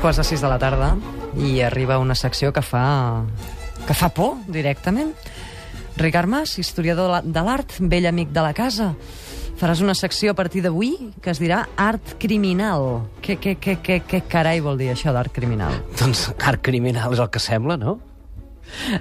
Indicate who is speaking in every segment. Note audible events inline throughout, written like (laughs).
Speaker 1: quarts de sis de la tarda i arriba una secció que fa, que fa por, directament. Ricard Mas, historiador de la- de l'art, vell amic de la casa. Faràs una secció a partir d'avui que es dirà Art Criminal. Què, què, què, què, què carai vol dir això d'art criminal?
Speaker 2: Doncs art criminal és el que sembla, no?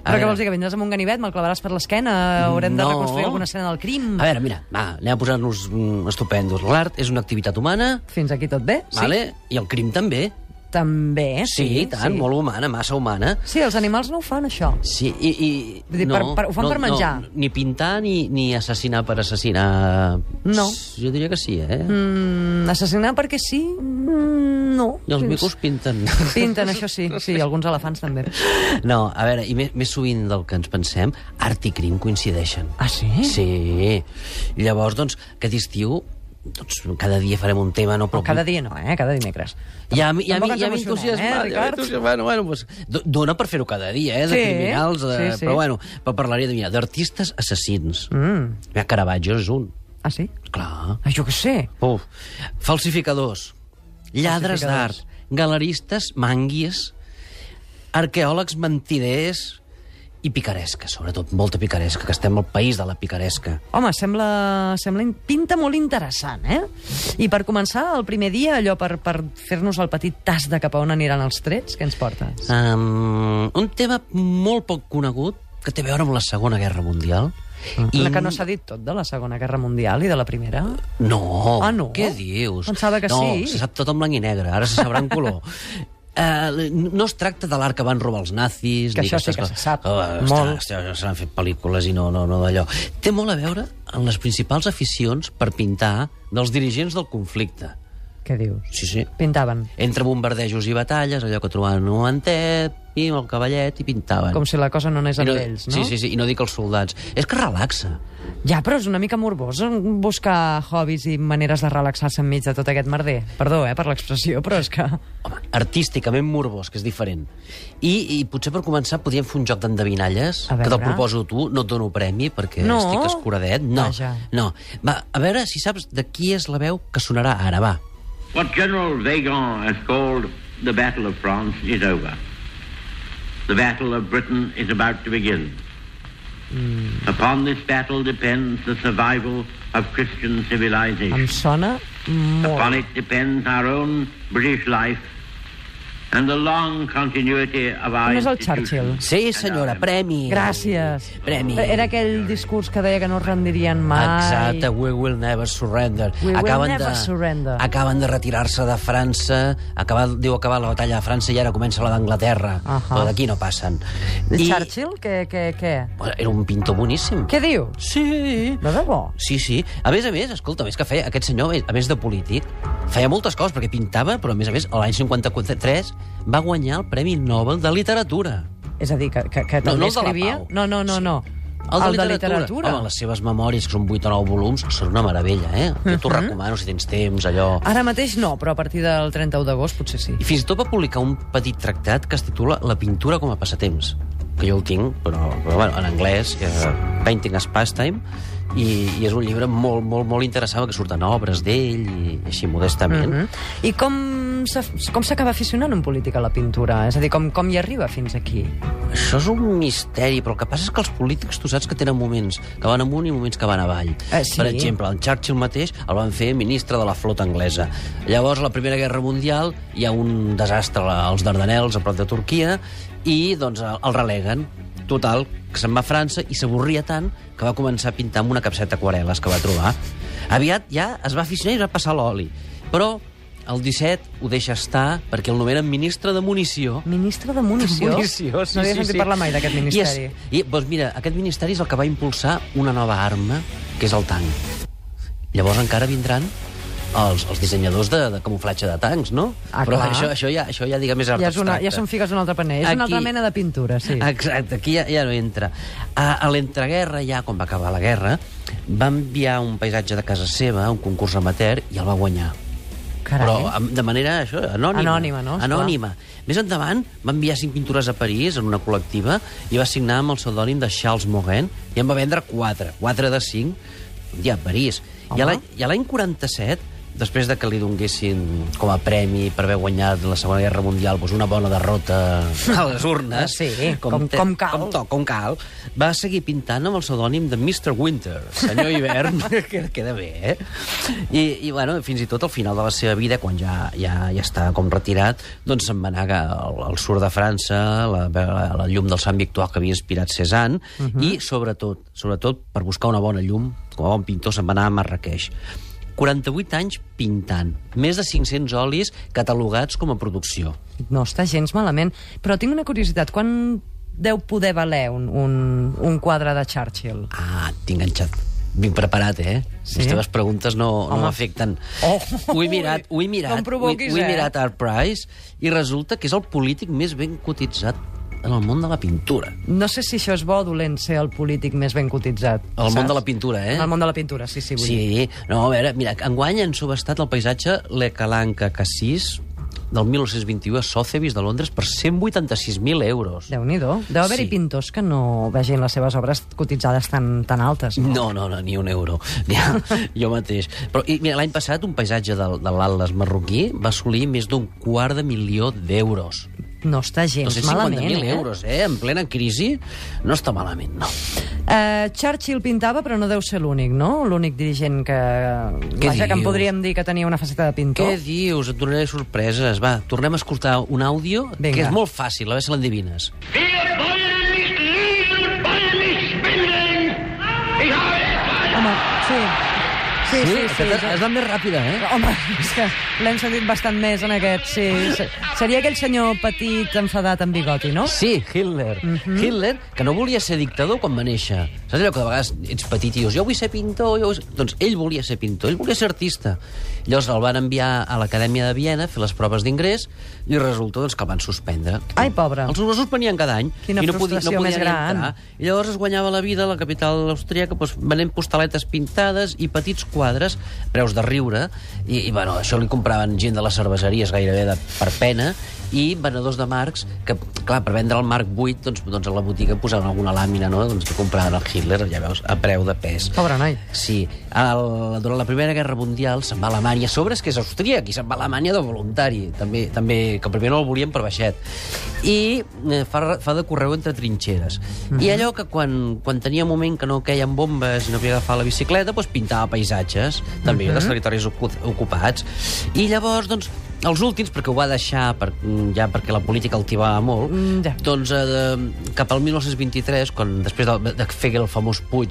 Speaker 1: Però què vols dir, que vindràs amb un ganivet, me'l clavaràs per l'esquena, haurem de
Speaker 2: No.
Speaker 1: reconstruir alguna escena del crim...
Speaker 2: A veure, mira, va, anem a posar-nos mm, estupendos. L'art és una activitat humana,
Speaker 1: Fins aquí tot bé?
Speaker 2: sí. vale? i el crim també.
Speaker 1: També, eh?
Speaker 2: Sí, sí tant, sí. molt humana, massa humana.
Speaker 1: Sí, els animals no ho fan, això.
Speaker 2: Sí, i... i
Speaker 1: Vull dir, per- per- ho fan
Speaker 2: no,
Speaker 1: per menjar.
Speaker 2: No, ni pintar ni, ni assassinar per assassinar...
Speaker 1: No.
Speaker 2: Ps, Jo diria que sí, eh? Mm.
Speaker 1: Mm, assassinar perquè sí? Mm, no.
Speaker 2: I els micos pinten. (laughs)
Speaker 1: Pinten, això sí. Sí, alguns elefants també.
Speaker 2: No, a veure, i més, més sovint del que ens pensem, art i crim coincideixen.
Speaker 1: Ah, sí?
Speaker 2: Sí. Llavors, doncs, aquest estiu doncs, cada dia farem un tema, no? Però
Speaker 1: Cada dia no, eh? Cada dimecres.
Speaker 2: hi ha, hi ha,
Speaker 1: Tampoc
Speaker 2: hi ha,
Speaker 1: ens emocionem,
Speaker 2: entusiasme,
Speaker 1: eh,
Speaker 2: hi ha
Speaker 1: Ricard?
Speaker 2: entusiasme, bueno, bueno, pues, do- dona per fer-ho cada dia, eh, de
Speaker 1: Sí,
Speaker 2: criminals, de,
Speaker 1: sí, sí.
Speaker 2: però bueno, però parlaria de, mira, d'artistes assassins.
Speaker 1: Mm.
Speaker 2: Mira, Caravaggio és un,
Speaker 1: Ah, sí?
Speaker 2: clar.
Speaker 1: Ah, jo què sé.
Speaker 2: Uf. Falsificadors, lladres
Speaker 1: Falsificadors.
Speaker 2: d'art, galeristes, manguies, arqueòlegs mentiders i picaresca, sobretot, molta picaresca, que estem al país de la picaresca.
Speaker 1: Home, sembla, sembla... in- Pinta molt interessant, eh? I per començar, el primer dia, allò per, per fer-nos el petit tas de cap a on aniran els trets, què ens portes?
Speaker 2: Um, un tema molt poc conegut que té a veure amb la Segona Guerra Mundial.
Speaker 1: Ah. La que no s'ha dit tot de la Segona Guerra Mundial i de la Primera?
Speaker 2: No,
Speaker 1: Ah, no?
Speaker 2: què dius?
Speaker 1: Pensava que
Speaker 2: no,
Speaker 1: sí.
Speaker 2: se sap tot en blanc i negre, ara se sabrà en
Speaker 1: (laughs)
Speaker 2: color. Uh, no es tracta de l'art que van robar els nazis...
Speaker 1: Que
Speaker 2: ni
Speaker 1: això sí
Speaker 2: s'està-
Speaker 1: que se sap,
Speaker 2: Ah, està-
Speaker 1: molt.
Speaker 2: està- S'han fet pel·lícules i no, no, no d'allò. Té molt a veure amb les principals aficions per pintar dels dirigents del conflicte.
Speaker 1: Què dius?
Speaker 2: Sí, sí.
Speaker 1: Pintaven.
Speaker 2: Entre bombardejos i batalles, allò que trobaven un mantet, i amb el cavallet, i pintaven.
Speaker 1: Com si la cosa no anés
Speaker 2: I
Speaker 1: amb
Speaker 2: no,
Speaker 1: ells, no?
Speaker 2: Sí, sí, sí, i no dic els soldats. És que relaxa.
Speaker 1: Ja, però és una mica morbós eh, buscar hobbies i maneres de relaxar-se enmig de tot aquest merder. Perdó, eh, per l'expressió, però és que...
Speaker 2: Home, artísticament morbós, que és diferent. I, i potser per començar podríem fer un joc d'endevinalles,
Speaker 1: A
Speaker 2: que te'l
Speaker 1: veure.
Speaker 2: proposo tu, no et dono premi perquè
Speaker 1: No.
Speaker 2: estic escuradet. No,
Speaker 1: Vaja.
Speaker 2: no. Va, a veure si saps de qui és la veu que sonarà ara, va.
Speaker 3: What General Vagon has called the Battle of France is over. The Battle of Britain is about to begin. Upon this battle depends the survival of Christian
Speaker 1: Em
Speaker 3: civilization.
Speaker 1: sona
Speaker 3: Upon
Speaker 1: molt.
Speaker 3: it depends our own British life and the long continuity of our
Speaker 1: No és el
Speaker 3: institutions.
Speaker 1: Churchill.
Speaker 2: Sí, senyora, premi.
Speaker 1: Gràcies.
Speaker 2: Premi.
Speaker 1: Era aquell discurs que deia que no es rendirien mai.
Speaker 2: Exacte, we will never surrender.
Speaker 1: We will
Speaker 2: acaben
Speaker 1: never
Speaker 2: de,
Speaker 1: surrender.
Speaker 2: Acaben de retirar-se de França, acabar, diu acabar la batalla de França i ara comença la d'Anglaterra.
Speaker 1: Ahà.
Speaker 2: Però d'aquí no passen.
Speaker 1: I... Churchill, què, què, què?
Speaker 2: Era un pintor boníssim.
Speaker 1: Què dius?
Speaker 2: Sí.
Speaker 1: De debò?
Speaker 2: Sí, sí. A més a més, escolta, més que feia aquest senyor, a més de polític, feia moltes coses, perquè pintava, però a més a més, l'any 53 va guanyar el Premi Nobel de Literatura.
Speaker 1: És a dir, que, que, que
Speaker 2: No,
Speaker 1: també
Speaker 2: no el de la
Speaker 1: escrivia...
Speaker 2: Pau.
Speaker 1: No, no, no, no.
Speaker 2: Home, les seves memòries, que són 8 o 9 volums, són una meravella, eh? Jo t'ho recomano si tens temps, allò...
Speaker 1: Ara mateix no, però a partir del 31 d'agost potser sí.
Speaker 2: I fins i tot va publicar un petit tractat que es titula La pintura com a passatemps, que jo el tinc, però, però bueno, en anglès, eh, Painting as Pastime, i, i és un llibre molt, molt, molt interessant, que surten obres d'ell, i així modestament.
Speaker 1: Mm? I com s'af- com s'acaba aficionant un polític a la pintura? És a dir, com, com hi arriba fins aquí?
Speaker 2: Això és un misteri, però el que passa és que els polítics tu saps que tenen moments que van amunt i moments que van avall.
Speaker 1: Eh, sí.
Speaker 2: Per exemple, el Churchill mateix el van fer ministre de la flota anglesa. Llavors, a la Primera Guerra Mundial hi ha un desastre als Dardanels, a prop de Turquia, i doncs el el releguen. Total, que se'n va a França i s'avorria tant que va començar a pintar amb una capseta aquarel·les que va trobar. Aviat ja es va aficionar i es va passar l'oli. Però el 17 ho deixa estar perquè el nomenen ministre de munició
Speaker 1: Ministre de Munició?
Speaker 2: Munició, sí,
Speaker 1: no havia
Speaker 2: sí,
Speaker 1: sentit
Speaker 2: sí.
Speaker 1: parlar mai d'aquest ministeri.
Speaker 2: I, és, i doncs mira, aquest ministeri és el que va impulsar una nova arma, que és el tanc. Llavors encara vindran els, els dissenyadors de, de camuflatge de tancs, no?
Speaker 1: Ah,
Speaker 2: Però
Speaker 1: clar.
Speaker 2: això, això ja, això ja diguem, és art
Speaker 1: Ja, és una,
Speaker 2: abstracte.
Speaker 1: ja són fiques d'un altre paner. És una
Speaker 2: Aquí- Ah,
Speaker 1: altra mena de pintura, sí.
Speaker 2: Exacte, aquí ja, ja no entra. A, a l'entreguerra, ja quan va acabar la guerra, va enviar un paisatge de casa seva, un concurs amateur, i el va guanyar.
Speaker 1: Carai. eh?
Speaker 2: Però amb- de manera això, anònima.
Speaker 1: Anònima, no? Esclar.
Speaker 2: Anònima. Més endavant va enviar cinc pintures a París en una col·lectiva i va signar amb el pseudònim de Charles Morin i en va vendre quatre, quatre de cinc, un dia a París. I a l'any- I a l'any 47 després de que li donguessin com a premi per haver guanyat la Segona Guerra Mundial doncs una bona
Speaker 1: (laughs)
Speaker 2: derrota a les urnes,
Speaker 1: Sí, com-
Speaker 2: te-
Speaker 1: com cal.
Speaker 2: Com, to, com cal, va seguir pintant amb el pseudònim de Mr. Winter, senyor
Speaker 1: (laughs)
Speaker 2: hivern, que queda bé, eh? I, i bueno, fins i tot al final de la seva vida, quan ja, ja, ja està com retirat, doncs se'n va anar al, al sur de França, la, la, la llum del Sant Victor que havia inspirat Cézanne,
Speaker 1: Mhm.
Speaker 2: i sobretot, sobretot per buscar una bona llum, com a bon pintor se'n va anar a Marrakeix. 48 anys pintant, més de 500 olis catalogats com a producció.
Speaker 1: No està gens malament. Però tinc una curiositat. Quan deu poder valer un, un, un quadre de Churchill?
Speaker 2: Ah, tinc enganxat. Vinc preparat, eh?
Speaker 1: Sí?
Speaker 2: Sí? Les teves preguntes no, no
Speaker 1: Home.
Speaker 2: m'afecten.
Speaker 1: Oh!
Speaker 2: Ho he mirat, ho he
Speaker 1: No em
Speaker 2: mirat.
Speaker 1: provoquis,
Speaker 2: ho, he- ho he
Speaker 1: eh?
Speaker 2: mirat a Art Price i resulta que és el polític més ben cotitzat en el món de la pintura.
Speaker 1: No sé si això és bo o dolent ser el polític més ben cotitzat.
Speaker 2: El món de la pintura, eh?
Speaker 1: El món de la pintura, sí, sí, vull dir.
Speaker 2: Sí, no, a veure, mira, enguany han subestat el paisatge Le Calanca Cassís del 1921 a Sotheby's de Londres per 186.000 euros.
Speaker 1: Déu-n'hi-do. Deu haver-hi
Speaker 2: Sí.
Speaker 1: pintors que no vegin les seves obres cotitzades tan, tan altes. No?
Speaker 2: No, no, no, ni un euro. (laughs) Ni, jo mateix. Però i, mira, l'any passat un paisatge de, de l'Atlas marroquí va assolir més d'un quart de milió d'euros.
Speaker 1: no està gens malament.
Speaker 2: 250.000
Speaker 1: eh?
Speaker 2: euros, eh? En plena crisi no està malament, no.
Speaker 1: Eh, Churchill pintava, però no deu ser l'únic, no? L'únic dirigent que...
Speaker 2: Què
Speaker 1: Vaja, que en
Speaker 2: dius?
Speaker 1: podríem dir que tenia una faceta de
Speaker 2: Què
Speaker 1: pintor.
Speaker 2: dius? Et donaré sorpreses. Va, tornem a escoltar un àudio
Speaker 1: Vinga.
Speaker 2: que és molt fàcil, a veure si l'endevines.
Speaker 4: Wir wollen nicht lügen, wollen nicht schwindeln. Ich habe es
Speaker 1: Home, sí. Sí, sí, sí.
Speaker 2: aquesta
Speaker 1: sí,
Speaker 2: és la més ràpida, eh?
Speaker 1: Home, és que l'hem sentit bastant més en aquest, sí. Se- Seria aquell senyor petit, enfadat, amb bigoti, no? Mhm.
Speaker 2: Sí, Hitler. Hitler, que no volia ser dictador quan va néixer. Saps allò que de vegades ets petit i dius, jo vull ser pintor, jo vull... ser-" Doncs ell volia ser pintor, ell volia ser artista. Llavors el van enviar a l'Acadèmia de Viena a fer les proves d'ingrés i resulta doncs, que el van suspendre.
Speaker 1: Ai, pobre.
Speaker 2: Els us suspenien cada any.
Speaker 1: Quina
Speaker 2: i no podia, no
Speaker 1: frustració
Speaker 2: podia
Speaker 1: més gran.
Speaker 2: Entrar. I llavors es guanyava la vida a la capital austríaca doncs, venent postaletes pintades i petits quadres, preus de riure, i, i bueno, això li compraven gent de les cerveseries gairebé de, per pena, i venedors de marcs, que, clar, per vendre el marc buit, doncs, doncs a la botiga posaven alguna làmina, no?, doncs que compraven el Hitler, ja veus, a preu de pes.
Speaker 1: Pobre noi.
Speaker 2: Sí, el, durant la Primera Guerra Mundial se'n va a Alemanya, a sobre és que és austríac, i se'n va a Alemanya de voluntari, també, també que primer no el volien per baixet. I eh, fa, fa de correu entre trinxeres.
Speaker 1: Mhm.
Speaker 2: I allò que quan, quan tenia un moment que no queien bombes i no havia agafar la bicicleta, doncs pintava paisatges, també,
Speaker 1: Mhm.
Speaker 2: dels territoris ocu ocupats. I llavors, doncs, els últims, perquè ho va deixar per, ja perquè la política el tibava molt,
Speaker 1: Mm, ja.
Speaker 2: doncs eh, de, cap al 1923, quan després de, de fer el famós Puig,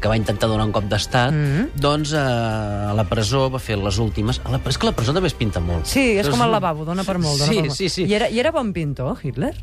Speaker 2: que va intentar donar un cop d'estat, mm
Speaker 1: Mm-hmm.
Speaker 2: -hmm. doncs eh, a la presó va fer les últimes. A la, és que la presó també es pinta molt.
Speaker 1: Sí, és
Speaker 2: Però
Speaker 1: com el lavabo, dona per molt. Dona
Speaker 2: Doncs sí,
Speaker 1: per molt.
Speaker 2: sí, sí.
Speaker 1: I era, I era bon pintor, Hitler?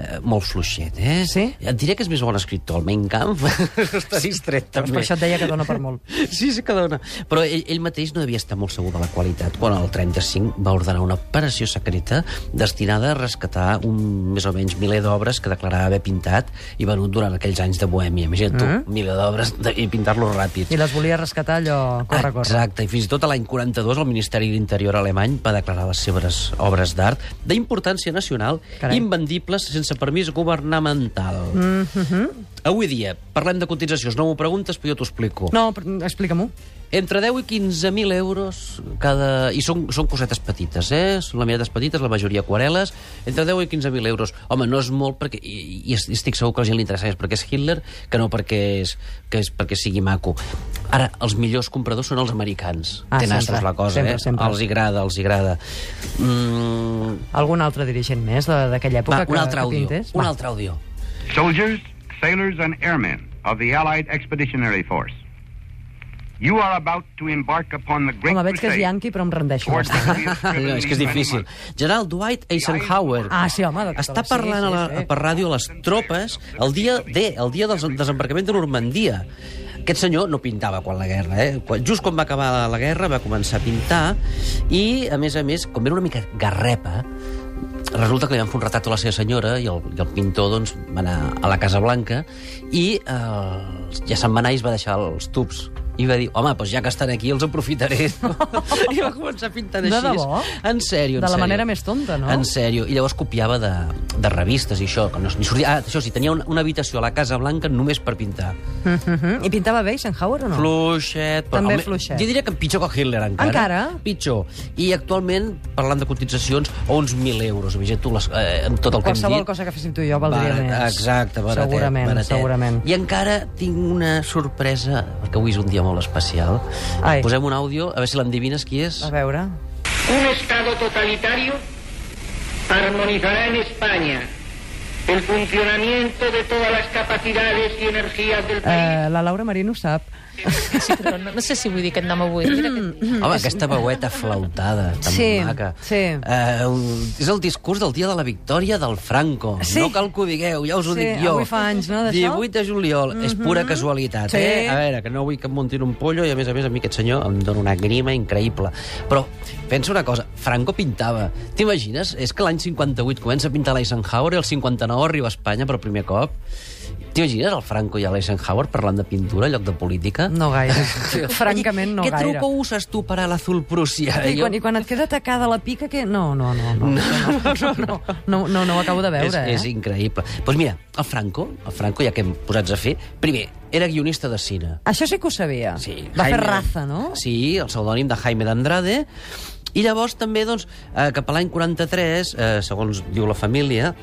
Speaker 2: Eh, molt fluixet, eh?
Speaker 1: Sí?
Speaker 2: Et diré que és més bon escriptor, el Mein Kampf. (laughs) Està distret,
Speaker 1: Doncs
Speaker 2: també.
Speaker 1: per això et deia que dona per molt.
Speaker 2: Sí, sí que dona. Però ell, ell mateix no devia estar molt segur de la qualitat quan el 35 va ordenar una operació secreta destinada a rescatar un més o menys miler d'obres que declarava haver pintat i venut durant aquells anys de Bohèmia. Imagina't mm -hmm. tu, miler d'obres de- i pintar-los ràpid.
Speaker 1: I les volia rescatar allò, corre, corre.
Speaker 2: Exacte, i fins i tot a l'any 42 el Ministeri d'Interior alemany va declarar les seves obres d'art d'importància nacional,
Speaker 1: Carai.
Speaker 2: Carai. invendibles sense permís governamental. Mm -hmm. Avui dia, parlem de cotitzacions, no m'ho preguntes, però jo t'ho explico.
Speaker 1: No, però, explica-m'ho.
Speaker 2: Entre 10 i 15.000 euros cada... I són, són cosetes petites, eh? Són la meitat petites, la majoria aquarel·les. Entre 10 i 15.000 euros. Home, no és molt perquè... I, i es- estic segur que a la gent li interessa més perquè és Hitler que no perquè, és, que és, perquè sigui maco. Ara, els millors compradors són els americans.
Speaker 1: Ah,
Speaker 2: Tenen
Speaker 1: sempre,
Speaker 2: la cosa,
Speaker 1: sempre,
Speaker 2: eh?
Speaker 1: sempre.
Speaker 2: Els hi agrada, els hi agrada. Mm,
Speaker 1: Algun altre dirigent més de- d'aquella època
Speaker 2: va,
Speaker 1: que,
Speaker 2: un altre
Speaker 1: que
Speaker 2: àudio.
Speaker 1: pintés?
Speaker 2: Un
Speaker 1: Va.
Speaker 2: altre àudio.
Speaker 5: Soldiers, sailors, and airmen of the Allied Expeditionary Force, you are about to embark upon the great
Speaker 1: Home, veig que és
Speaker 5: crusade
Speaker 1: yanqui, però em rendeixo
Speaker 5: toward
Speaker 1: bastant.
Speaker 2: (laughs)
Speaker 5: the
Speaker 2: No, és que és difícil. General Dwight Eisenhower.
Speaker 1: Ah, sí, home, de tota
Speaker 2: Està
Speaker 1: la- sí,
Speaker 2: parlant a la,
Speaker 1: sí, sí.
Speaker 2: per ràdio a les tropes el dia D, el dia del desembarcament de Normandia. Aquest senyor no pintava quan la guerra, eh? Quan, just quan va acabar la guerra va començar a pintar i, a més a més, com era una mica garrepa, resulta que li van fer un retrat a la seva senyora i el, i el pintor doncs, va anar a la Casa Blanca i eh, ja se'n va anar i es va deixar els tubs i va dir, home, doncs ja que estan aquí els aprofitaré. (laughs) I va començar pintant
Speaker 1: De
Speaker 2: així.
Speaker 1: debò?
Speaker 2: En sèrio, en
Speaker 1: De la
Speaker 2: sèrio.
Speaker 1: manera més tonta, no?
Speaker 2: En sèrio. I llavors copiava de, de revistes i això. Que no, ni sortia, ah, això sí, tenia una, una habitació a la Casa Blanca només per pintar.
Speaker 1: Mhm. (laughs) I pintava bé Eisenhower o no?
Speaker 2: Fluixet. Però,
Speaker 1: També
Speaker 2: home,
Speaker 1: fluixet.
Speaker 2: Jo diria que pitjor que Hitler encara. eh?
Speaker 1: Encara?
Speaker 2: Pitjor. I actualment, parlant de cotitzacions, a uns 1.000 euros. Imagina't tu les, eh, amb tot el que hem dit.
Speaker 1: Qualsevol cosa que fessin tu i jo valdria
Speaker 2: Barat-
Speaker 1: més.
Speaker 2: Exacte, baratet.
Speaker 1: Segurament,
Speaker 2: baratet.
Speaker 1: segurament.
Speaker 2: I encara tinc una sorpresa, perquè avui és un dia molt especial.
Speaker 1: Ai.
Speaker 2: Posem un àudio, a veure si l'endevines qui és.
Speaker 1: A veure...
Speaker 6: Un Estado totalitario armonizará en España el funcionamiento de todas las capacidades y energías del país.
Speaker 1: Eh, la Laura Marín ho sap. (laughs)
Speaker 7: Sí, però no, no sé si vull dir aquest nom avui. Mira que et dic.
Speaker 2: Home, aquesta veueta flautada, tan
Speaker 1: Mm-hmm. Sí,
Speaker 2: maca.
Speaker 1: sí.
Speaker 2: Eh, un- és el discurs del dia de la victòria del Franco.
Speaker 1: Sí.
Speaker 2: No cal que ho digueu, ja us ho
Speaker 1: Sí,
Speaker 2: dic jo.
Speaker 1: avui fa anys, no, d'això? Mm-hmm.
Speaker 2: 18 de juliol, és pura casualitat,
Speaker 1: Sí.
Speaker 2: eh? A veure, que no vull que em muntin un pollo i, a més a més, a mi aquest senyor em dona una grima increïble. Però pensa una cosa, Franco pintava. T'imagines? És que l'any 58 comença a pintar l'Eisenhower i el 59 arriba a Espanya per primer cop. T'imagines el Franco i l'Eisenhower parlant de pintura en lloc de política?
Speaker 1: No gaire. (laughs) Francament, no
Speaker 2: ¿Qué
Speaker 1: gaire.
Speaker 2: truco eh, usas tú para el azul prusia?
Speaker 1: I quan, I quan et queda tacada la pica, que... No, no, no, no, no, no, no, no, no, no ho acabo de veure,
Speaker 2: és, és
Speaker 1: eh?
Speaker 2: increïble. Doncs pues mira, el Franco, el Franco, ja que hem posats a fer, primer, era guionista de cine.
Speaker 1: Això sí que ho sabia.
Speaker 2: Sí,
Speaker 1: Va fer
Speaker 2: Jaime-
Speaker 1: raza, no?
Speaker 2: Sí, el pseudònim de Jaime d'Andrade. I llavors també, doncs, eh, cap a l'any 43, eh, segons diu la família,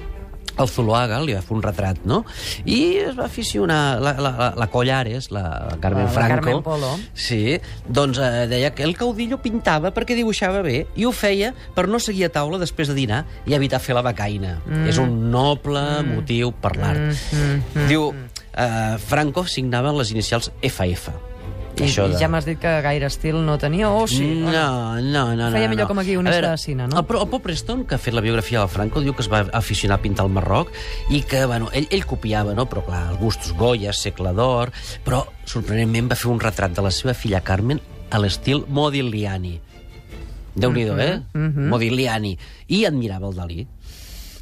Speaker 2: el Zuloaga li va fer un retrat, no? I es va aficionar la, la, la, la Collares, la, la
Speaker 1: La-
Speaker 2: Carmen
Speaker 1: la
Speaker 2: Franco.
Speaker 1: Carmen Polo.
Speaker 2: Sí, doncs eh, deia que el caudillo pintava perquè dibuixava bé i ho feia per no seguir a taula després de dinar i evitar fer la becaina. Mm. És un noble mm. motiu per l'art. Mm, mm, Diu, eh, Franco signava les inicials FF.
Speaker 1: I,
Speaker 2: Això
Speaker 1: i
Speaker 2: de-
Speaker 1: ja m'has dit que gaire estil no tenia, o sí? o
Speaker 2: no, no, no.
Speaker 1: Feia
Speaker 2: no,
Speaker 1: millor
Speaker 2: no.
Speaker 1: com a guionista de cine, no?
Speaker 2: El, Pro- el Paul Preston, que ha fet la biografia del Franco, diu que es va aficionar a pintar el Marroc i que, bueno, ell, ell copiava, no? Però, clar, els gustos Goya, segle d'or... Però, sorprenentment, va fer un retrat de la seva filla Carmen a l'estil Modigliani. Déu-n'hi-do,
Speaker 1: Mm-hmm,
Speaker 2: eh? Modigliani. I admirava el Dalí.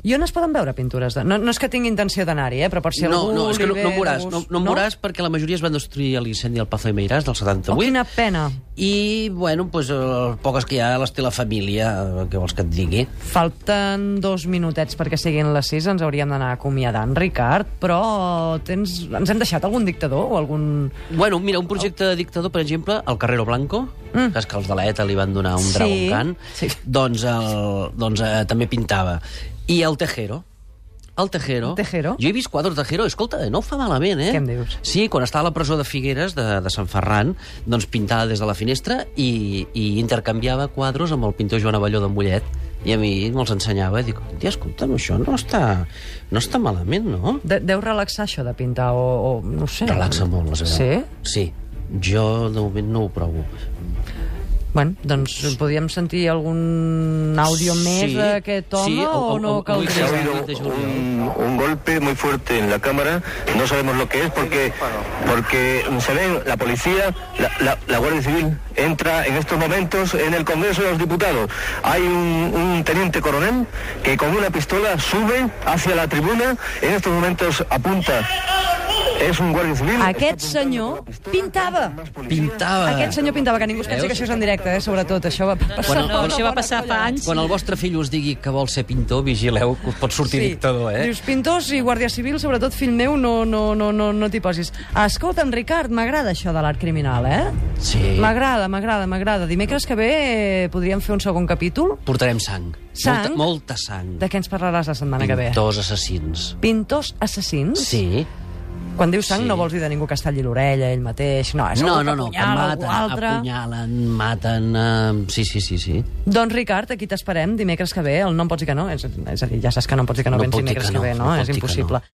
Speaker 1: I on es poden veure pintures? De... No, no és que tingui intenció d'anar-hi, eh? però per si
Speaker 2: no,
Speaker 1: algú
Speaker 2: no, és que no,
Speaker 1: li ve
Speaker 2: no
Speaker 1: de
Speaker 2: moràs,
Speaker 1: gust.
Speaker 2: no, no moràs perquè la majoria es van destruir a l'incendi del Pazo de Meiràs del 78.
Speaker 1: Oh, quina pena.
Speaker 2: I, bueno, doncs, eh, poques que hi ha les té la família, eh, què vols que et digui?
Speaker 1: Falten dos minutets perquè siguin les sis, ens hauríem d'anar acomiadant, Ricard, però tens... ens hem deixat algun dictador o algun...
Speaker 2: Bueno, mira, un projecte de dictador, per exemple, el Carrero Blanco, mm. que és que els de l'ETA li van donar un
Speaker 1: Sí.
Speaker 2: dragon can,
Speaker 1: Sí.
Speaker 2: doncs, el, doncs eh, també pintava. I el Tejero, el Tejero.
Speaker 1: El Tejero?
Speaker 2: Jo he vist quadres de Tejero. Escolta, no ho fa malament, eh?
Speaker 1: Què em dius?
Speaker 2: Sí, quan estava a la presó de Figueres, de, de Sant Ferran, doncs pintava des de la finestra i, i intercanviava quadros amb el pintor Joan Avelló de Mollet. I a mi me'ls ensenyava i dic, tia, escolta'm, això no està, no està malament, no?
Speaker 1: De Deu relaxar això de pintar o, o no ho sé.
Speaker 2: Relaxa molt, la
Speaker 1: Sí?
Speaker 2: veritat. Sí? Sí. Jo, de moment, no ho provo.
Speaker 1: Bueno, doncs podríem sentir algun àudio més d'aquest home
Speaker 2: sí,
Speaker 1: o, o, no
Speaker 8: Se ha
Speaker 1: caldria?
Speaker 8: oído un, un golpe muy fuerte en la cámara, no sabemos lo que es porque porque se ve la policía, la, la- la Guardia Civil entra en estos momentos en el Congreso de los Diputados. Hay un, un teniente coronel que con una pistola sube hacia la tribuna, en estos momentos apunta. Es un Guardia Civil.
Speaker 1: Aquest senyor pintava.
Speaker 2: Pintava.
Speaker 1: Aquest senyor pintava, que ningú es pensi
Speaker 2: Veus?
Speaker 1: que això és en directe, eh? sobretot. Això va passar.
Speaker 2: Quan el-
Speaker 7: No,
Speaker 2: quan-
Speaker 7: això va passar fa anys.
Speaker 2: Quan el vostre fill us digui que vol ser pintor, vigileu, que us pot sortir sí. dictador, eh?
Speaker 1: Dius pintors i guàrdia civil, sobretot fill meu, no, no, no, no, no t'hi posis. Escolta'm, Ricard, m'agrada això de l'art criminal, eh?
Speaker 2: Sí.
Speaker 1: M'agrada, m'agrada, m'agrada. Dimecres que ve eh, podríem fer un segon capítol.
Speaker 2: Portarem sang.
Speaker 1: Sang?
Speaker 2: Molta, molta sang.
Speaker 1: De què ens parlaràs la setmana que ve?
Speaker 2: Pintors assassins.
Speaker 1: Pintors assassins?
Speaker 2: Sí.
Speaker 1: Quan dius sang
Speaker 2: Sí.
Speaker 1: no vols dir de ningú que es talli l'orella ell mateix. No, és
Speaker 2: No,
Speaker 1: algú
Speaker 2: no, no, que
Speaker 1: apunyala
Speaker 2: maten,
Speaker 1: algú altre.
Speaker 2: apunyalen, maten... eh, Sí, sí, sí, sí.
Speaker 1: Doncs Ricard, aquí t'esperem dimecres que ve. El no em pots dir que no. És, és a dir, ja saps que no em pots dir que no,
Speaker 2: No
Speaker 1: vens
Speaker 2: puc dir
Speaker 1: dimecres
Speaker 2: que
Speaker 1: que,
Speaker 2: no,
Speaker 1: ve, no?
Speaker 2: no puc
Speaker 1: és
Speaker 2: dir que no.
Speaker 1: impossible.